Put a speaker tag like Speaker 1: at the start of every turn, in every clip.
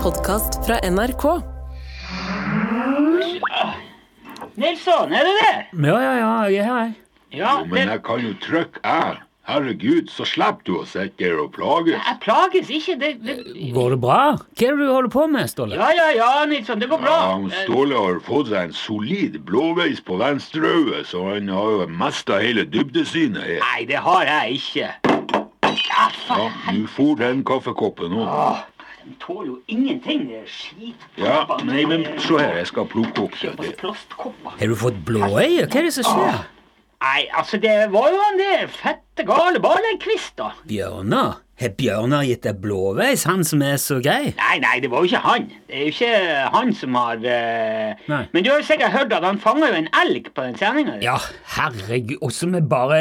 Speaker 1: podkast fra NRK.
Speaker 2: Nilsson, er du det?
Speaker 3: Ja, ja, ja, jeg er her.
Speaker 2: Ja, det,
Speaker 4: Men jeg kan jo trykke av. Herregud, så slipper du å sitte der og plages.
Speaker 2: jeg plages ikke. Det, det,
Speaker 3: Går det bra? Hva er det du holder på med, Ståle?
Speaker 2: ja, ja, ja, Nilsson, det går bra.
Speaker 4: Ja, han Ståle har fått seg en solid blåveis på venstre øye, så han har jo mista hele dybdesynet her.
Speaker 2: Eh, Nei, det har jeg ikke. Ja,
Speaker 4: Ja,
Speaker 2: faen.
Speaker 4: du for den kaffekoppen nå.
Speaker 2: Åh, de tåler jo ingenting, de der skitkoppene.
Speaker 4: Ja, nei, men se her, jeg skal plukke opp det
Speaker 2: Kjøpes
Speaker 4: der.
Speaker 2: Plastkopper.
Speaker 3: Har du fått blåøye? Hva er det som skjer?
Speaker 2: Nei, altså, det var jo han der fette gale Barlenkvist, da.
Speaker 3: Bjørnar? Har Bjørnar gitt deg blåveis, han som er så grei?
Speaker 2: Nei, nei, det var jo ikke han. Det er jo ikke han som har eh,
Speaker 3: Nei.
Speaker 2: Men du har jo sikkert hørt at han fanga jo en elg på den sendinga.
Speaker 3: Ja, herregud, også med bare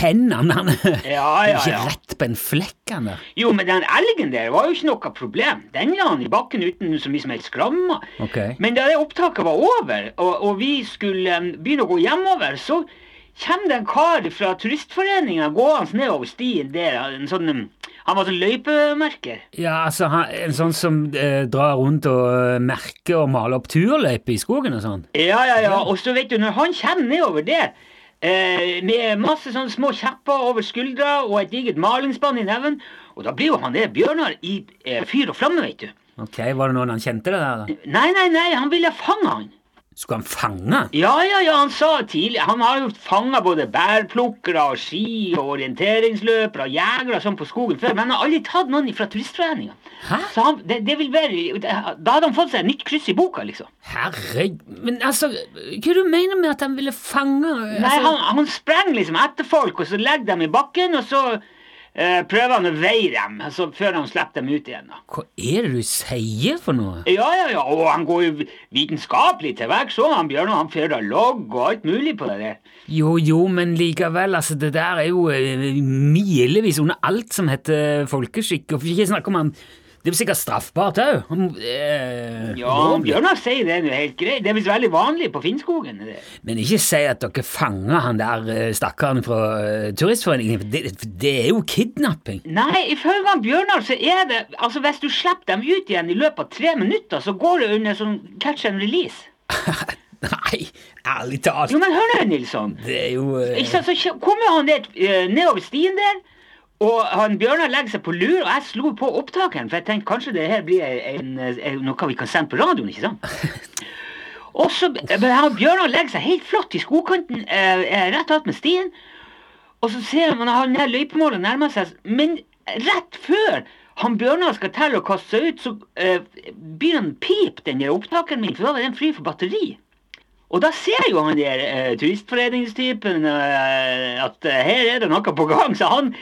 Speaker 3: hendene. Han er
Speaker 2: ja, ja,
Speaker 3: ikke
Speaker 2: ja.
Speaker 3: rett på en flekk, han der.
Speaker 2: Jo, men den elgen der var jo ikke noe problem. Den la han i bakken uten så mye som helst skramma.
Speaker 3: Ok.
Speaker 2: Men da det opptaket var over, og, og vi skulle em, begynne å gå hjemover, så kommer det en kar fra turistforeninga gående nedover stien der. En sånn, em, han var sånn løypemerker.
Speaker 3: Ja, altså, han, en sånn som eh, drar rundt og eh, merker og maler opp turløyper i skogen og sånn.
Speaker 2: Ja, ja, ja. Og så vet du, når han kommer nedover der eh, med masse sånne små kjepper over skuldra og et digert malingsspann i neven, og da blir jo han der Bjørnar i eh, fyr og flamme, vet du.
Speaker 3: Ok, var det noen han kjente det der, da?
Speaker 2: Nei, nei, nei, han ville fange han.
Speaker 3: Skulle han fange han?
Speaker 2: Ja, ja, ja, han sa tidlig Han har jo fanga både bærplukkere og ski og orienteringsløpere og jegere og sånn på skogen før, men han har aldri tatt noen fra turistforeninga.
Speaker 3: Hæ?
Speaker 2: Så han, det, det vil være det, Da hadde han fått seg et nytt kryss i boka, liksom.
Speaker 3: Herregud, men altså, hva du mener med at han ville fange
Speaker 2: Nei,
Speaker 3: altså,
Speaker 2: han, han sprang liksom etter folk, og så legger dem i bakken, og så eh, prøver han å veie dem altså, før han slipper dem ut igjen. da.
Speaker 3: Hva er det du sier for noe?
Speaker 2: Ja, ja, ja, og han går jo vitenskapelig til verks òg, han Bjørnar. Han fører logg og alt mulig på det der.
Speaker 3: Jo, jo, men likevel, altså, det der er jo eh, milevis under alt som heter folkeskikk, og for ikke snakke om han Det er jo sikkert straffbart eh, òg.
Speaker 2: Ja, han Bjørnar sier det er jo helt greit. Det er visst veldig vanlig på Finnskogen. det der.
Speaker 3: Men ikke si at dere fanger han der eh, stakkaren fra eh, Turistforeningen, for det, for det er jo kidnapping.
Speaker 2: Nei, ifølge han Bjørnar så er det Altså, hvis du slipper dem ut igjen i løpet av tre minutter, så går det under sånn catch and release.
Speaker 3: Nei, ærlig talt.
Speaker 2: Jo, men hør nå, Nilsson.
Speaker 3: Det er jo eh,
Speaker 2: Ikke sant, så kje- kom jo han der eh, nedover stien der, og han Bjørnar legger seg på lur, og jeg slo på opptakeren, for jeg tenkte kanskje det her blir en, en, noe vi kan sende på radioen, ikke sant? Og så eh, men han Bjørnar legger seg helt flatt i skogkanten, eh, eh, rett attmed stien, og så ser man at han der løypemålet nærmer seg, men rett før han Bjørnar skal telle og kaste seg ut, så eh, begynner han å pipe den der opptakeren min, for da var den fri for batteri. Og da ser jo han der eh, turistforeningstypen eh, at eh, her er det noe på gang, så han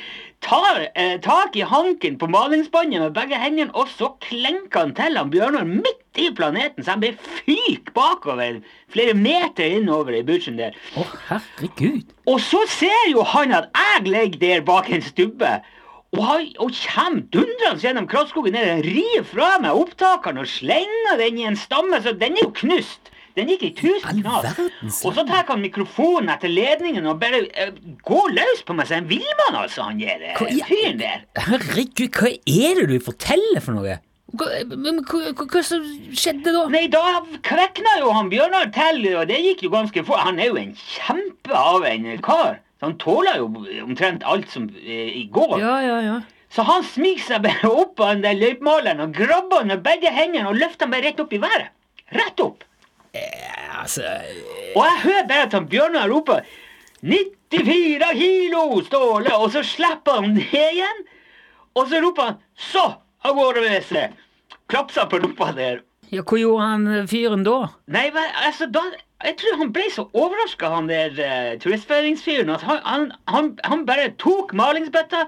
Speaker 2: tar eh, tak i hanken på malingsspannet med begge hendene, og så klenker han til han Bjørnar midt i planeten, så han blir fyk bakover flere meter innover i bushen der.
Speaker 3: Å, herregud.
Speaker 2: Og så ser jo han at jeg ligger der bak en stubbe, og, han, og kommer dundrende gjennom krattskogen ned og river fra meg opptakeren og slenger den i en stamme, så den er jo knust. Den gikk i tusen
Speaker 3: All
Speaker 2: knas.
Speaker 3: verdens
Speaker 2: Og så tar han mikrofonen etter ledningen og bare eh, går løs på meg som en villmann, altså, han der eh,
Speaker 3: Hva i-
Speaker 2: fyren der.
Speaker 3: Herregud, hva er det du forteller for noe? Hva, men hva, hva, hva som skjedde da?
Speaker 2: Nei, da kvekna jo han Bjørnar til, og det gikk jo ganske fort. Han er jo en kjempe av en kar. Så han tåler jo omtrent alt som eh, går.
Speaker 3: Ja, ja, ja.
Speaker 2: Så han smyger seg bare opp av den der løypemaleren og grabber han med begge hendene og løfter han bare rett opp i været. Rett opp.
Speaker 3: Altså,
Speaker 2: Og jeg hører bare at han Bjørnar roper 94 kilo, Ståle! Og så slipper han ned igjen. Og så roper han 'så av gårde med seg'. Klapser på rumpa der.
Speaker 3: ja, hva gjorde han eh, fyren da?
Speaker 2: Nei, men, altså da Jeg tror han ble så overraska, han der uh, turistføringsfyren, at han, han, han, han bare tok malingsbøtta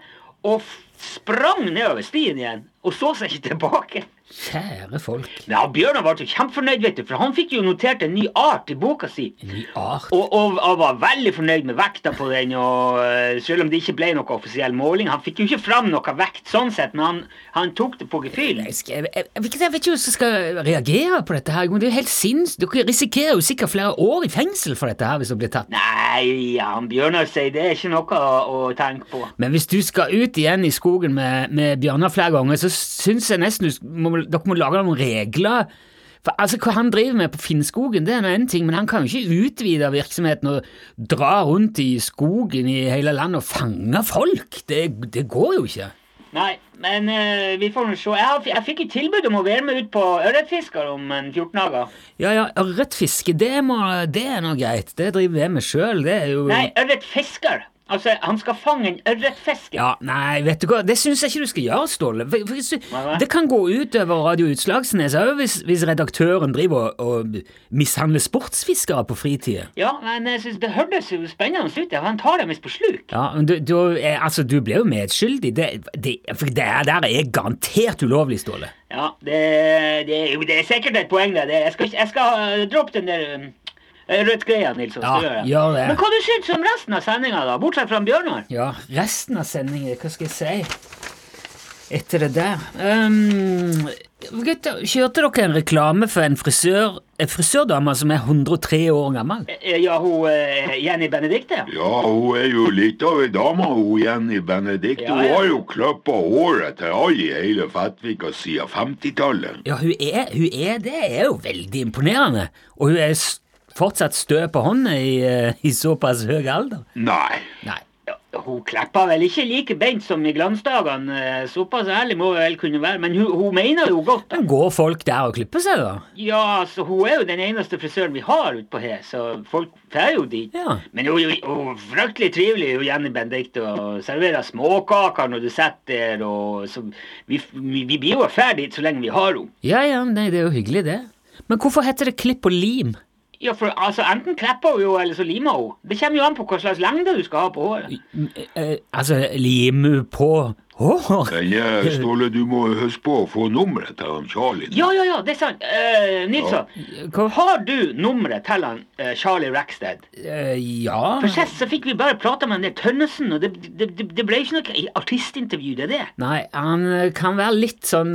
Speaker 2: og f sprang nedover stien igjen. Og så seg ikke tilbake.
Speaker 3: Kjære folk.
Speaker 2: Ja, Bjørnar ble jo kjempefornøyd, vet du, for han fikk jo notert en ny art i boka si.
Speaker 3: Ny art.
Speaker 2: Og, og, og var veldig fornøyd med vekta på den, og eh, selv om det ikke ble noe offisiell måling. Han fikk jo ikke fram noe vekt sånn sett, men han, han tok det på gefühl.
Speaker 3: Jeg, skal- jeg, jeg, jeg vet ikke- jeg vet ikke hvordan jeg skal reagere på dette. her. Det er jo helt sinns. Dere risikerer jo sikkert flere år i fengsel for dette her hvis dere blir tatt.
Speaker 2: Nei, han Bjørnar sier det er ikke noe å, å tenke på.
Speaker 3: Men hvis du skal ut igjen i skogen med, med bjørner flere ganger, så syns jeg nesten du sk- må, dere må lage noen regler. For altså, Hva han driver med på Finnskogen, det er nå en ting, men han kan jo ikke utvide virksomheten og dra rundt i skogen i hele landet og fange folk. Det, det går jo ikke.
Speaker 2: Nei, men eh, vi får nå se. Jeg, har, jeg fikk et tilbud om å være med ut på ørretfisker om en 14 dager.
Speaker 3: Ja, ja, ørretfiske, det, må- det er nå greit. Det driver jeg med sjøl, det er jo
Speaker 2: Nei, ørretfisker. Altså, han skal fange en ørretfisker.
Speaker 3: Ja, nei, vet du hva, det syns jeg ikke du skal gjøre, Ståle. For, for,
Speaker 2: Nei, nei.
Speaker 3: det kan gå ut over Radio Utslagsnes òg, hvis, hvis redaktøren driver og, og mishandler sportsfiskere på fritida.
Speaker 2: Ja, men jeg synes det hørtes jo spennende ut. ja, Han tar dem visst på sluk.
Speaker 3: Ja, men du, du, eh, altså, du ble jo medskyldig. Det, det, for det her der er garantert ulovlig, Ståle.
Speaker 2: Ja, det, det, jo, det er sikkert et poeng, det. det. Jeg skal, ikke- jeg skal eh, droppe den der um, ørretgreia, Nils.
Speaker 3: Ja, gjør det.
Speaker 2: Men hva du syns om resten av sendinga, da? Bortsett fra Bjørnar?
Speaker 3: Ja, resten av sendingen, hva skal jeg si? Etter det der Ehm, Gutter, kjørte dere en reklame for en frisør En frisørdame som er 103 år gammel?
Speaker 2: Eh, Ja, hun eh, Jenny Benedicte?
Speaker 4: Ja, hun er jo litt av ei dame, hun Jenny Benedicte.
Speaker 2: Ja,
Speaker 4: Hun
Speaker 2: ja.
Speaker 4: har jo kløppa håret til alle i hele Fettvika siden 50-tallet.
Speaker 3: Ja, hun er, hun er det. er jo veldig imponerende. Og hun er s- fortsatt stø på hånda i, eh, i såpass høy alder.
Speaker 4: Nei.
Speaker 3: Nei.
Speaker 2: Ja, Hun klippa vel ikke like beint som i glansdagene, eh, såpass ærlig må hun vel kunne være. Men hun, hun mener jo godt. da.
Speaker 3: Men går folk der og klipper seg, da?
Speaker 2: Ja, altså, hun er jo den eneste frisøren vi har utpå her, så folk drar jo dit.
Speaker 3: Ja.
Speaker 2: Men hun er jo hun er fryktelig trivelig, hun Jenny Benedicte, og serverer småkaker når du sitter der, og så vi, vi, vi blir jo ferdig så lenge vi har henne.
Speaker 3: Ja ja, nei, det er jo hyggelig, det. Men hvorfor heter det klipp og lim?
Speaker 2: Ja, for altså, enten klipper hun jo, eller så limer hun. Det kommer jo an på hva slags lengde du skal ha på håret.
Speaker 3: Mm, eh, altså, limer hun på hår?
Speaker 4: Men eh, Ståle, du må huske på å få nummeret til han Charlie.
Speaker 2: Ja, ja, ja, det er sant. Eh, Nilsson,
Speaker 3: Hva?
Speaker 2: har du nummeret til han eh, Charlie Rackstead?
Speaker 3: Eh, ja
Speaker 2: For sist så fikk vi bare prate med han der Tønnesen, og det, det, det, det ble ikke noe artistintervju, det er det.
Speaker 3: Nei, han eh, kan være litt sånn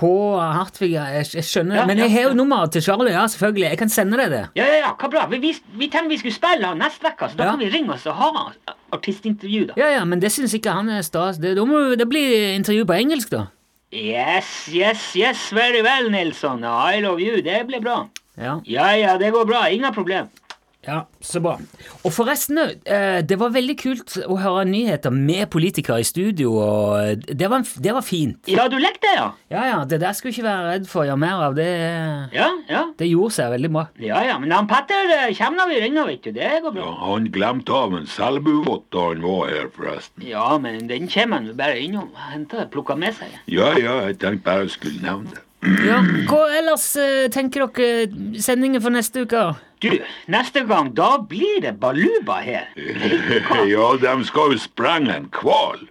Speaker 3: på Hartviga, jeg, jeg skjønner det.
Speaker 2: Ja,
Speaker 3: Men
Speaker 2: ja,
Speaker 3: jeg har jo
Speaker 2: ja.
Speaker 3: nummeret til Charlie, ja, selvfølgelig. Jeg kan sende deg det.
Speaker 2: Ja, ja, ja, hva bra. Vi, vi, vi tenkte vi skulle spille han neste uke, så da
Speaker 3: Ja.
Speaker 2: kan vi ringe oss og ha artistintervju, da.
Speaker 3: Ja ja, men det syns ikke han er stas. Det, da må, det blir intervju på engelsk, da.
Speaker 2: Yes, yes, yes, very well, Nilsson. I love you. Det ble bra.
Speaker 3: Ja,
Speaker 2: Ja, ja, det går bra. Ingen problem.
Speaker 3: ja, så bra. Og forresten, eh, det var veldig kult å høre nyheter med politikere i studio, og eh, det var, det var fint.
Speaker 2: Ja, du likte det, ja?
Speaker 3: Ja, ja, det der skulle jeg ikke være redd for å gjøre mer av. Det,
Speaker 2: Ja, ja.
Speaker 3: det gjorde seg veldig bra.
Speaker 2: Ja, ja, men han Petter eh, kommer når vi ringer, vet du. Det går bra.
Speaker 4: Ja, han glemte av en selbuvott da han var her, forresten.
Speaker 2: Ja, men den kommer han jo bare innom. Henter det, plukker med seg.
Speaker 4: Ja, ja, jeg tenkte bare jeg skulle nevne det.
Speaker 3: Ja, hva ellers eh, tenker dere eh, sendingen for neste uke?
Speaker 2: Du, neste gang, da blir det baluba her.
Speaker 4: ja, de skal jo sprenge en hval.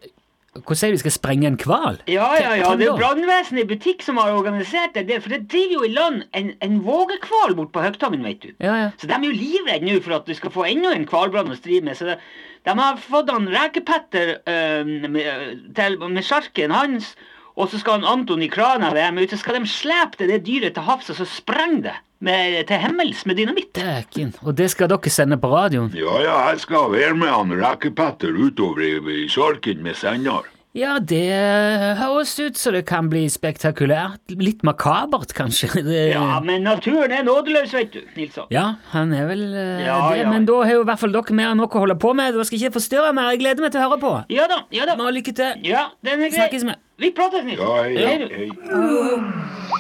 Speaker 3: Hvordan sier du vi skal sprenge en hval?
Speaker 2: Ja, ja, ja, det
Speaker 3: Hvem da?
Speaker 2: er brannvesenet i butikk som har organisert det der, for det driver jo i land en, en vågekval bort på Høgtangen, vet du.
Speaker 3: Ja, ja.
Speaker 2: Så de er jo livredde nå for at du skal få enda en hvalbrann å stri med. Så det, de har fått han Rekepetter eh, med, til- med sjarken hans, og så skal han Anton i krana være med ut. Så skal de slepe det, det dyret til havs, og så sprenge det med, til himmels med dynamitt.
Speaker 3: Dæken. Og det skal dere sende på radioen?
Speaker 4: Ja, ja, jeg skal være med han Rekkepetter utover i, i sjarken med sender.
Speaker 3: Ja, det eh, høres ut som det kan bli spektakulært. Litt makabert, kanskje. Det,
Speaker 2: Ja, men naturen er nådeløs, vet du, Nilsson.
Speaker 3: Ja, han er vel eh,
Speaker 2: Ja,
Speaker 3: det,
Speaker 2: ja.
Speaker 3: men da har jo i hvert fall dere mer enn nok å holde på med. Dere skal ikke forstyrre mer. Jeg gleder meg til å høre på.
Speaker 2: Ja da, ja da.
Speaker 3: Nå, lykke til.
Speaker 2: Ja, den er grei.
Speaker 3: Snakkes med.
Speaker 2: Vi prates, Nilsson.
Speaker 4: Ja, hei,
Speaker 2: du.
Speaker 4: hei.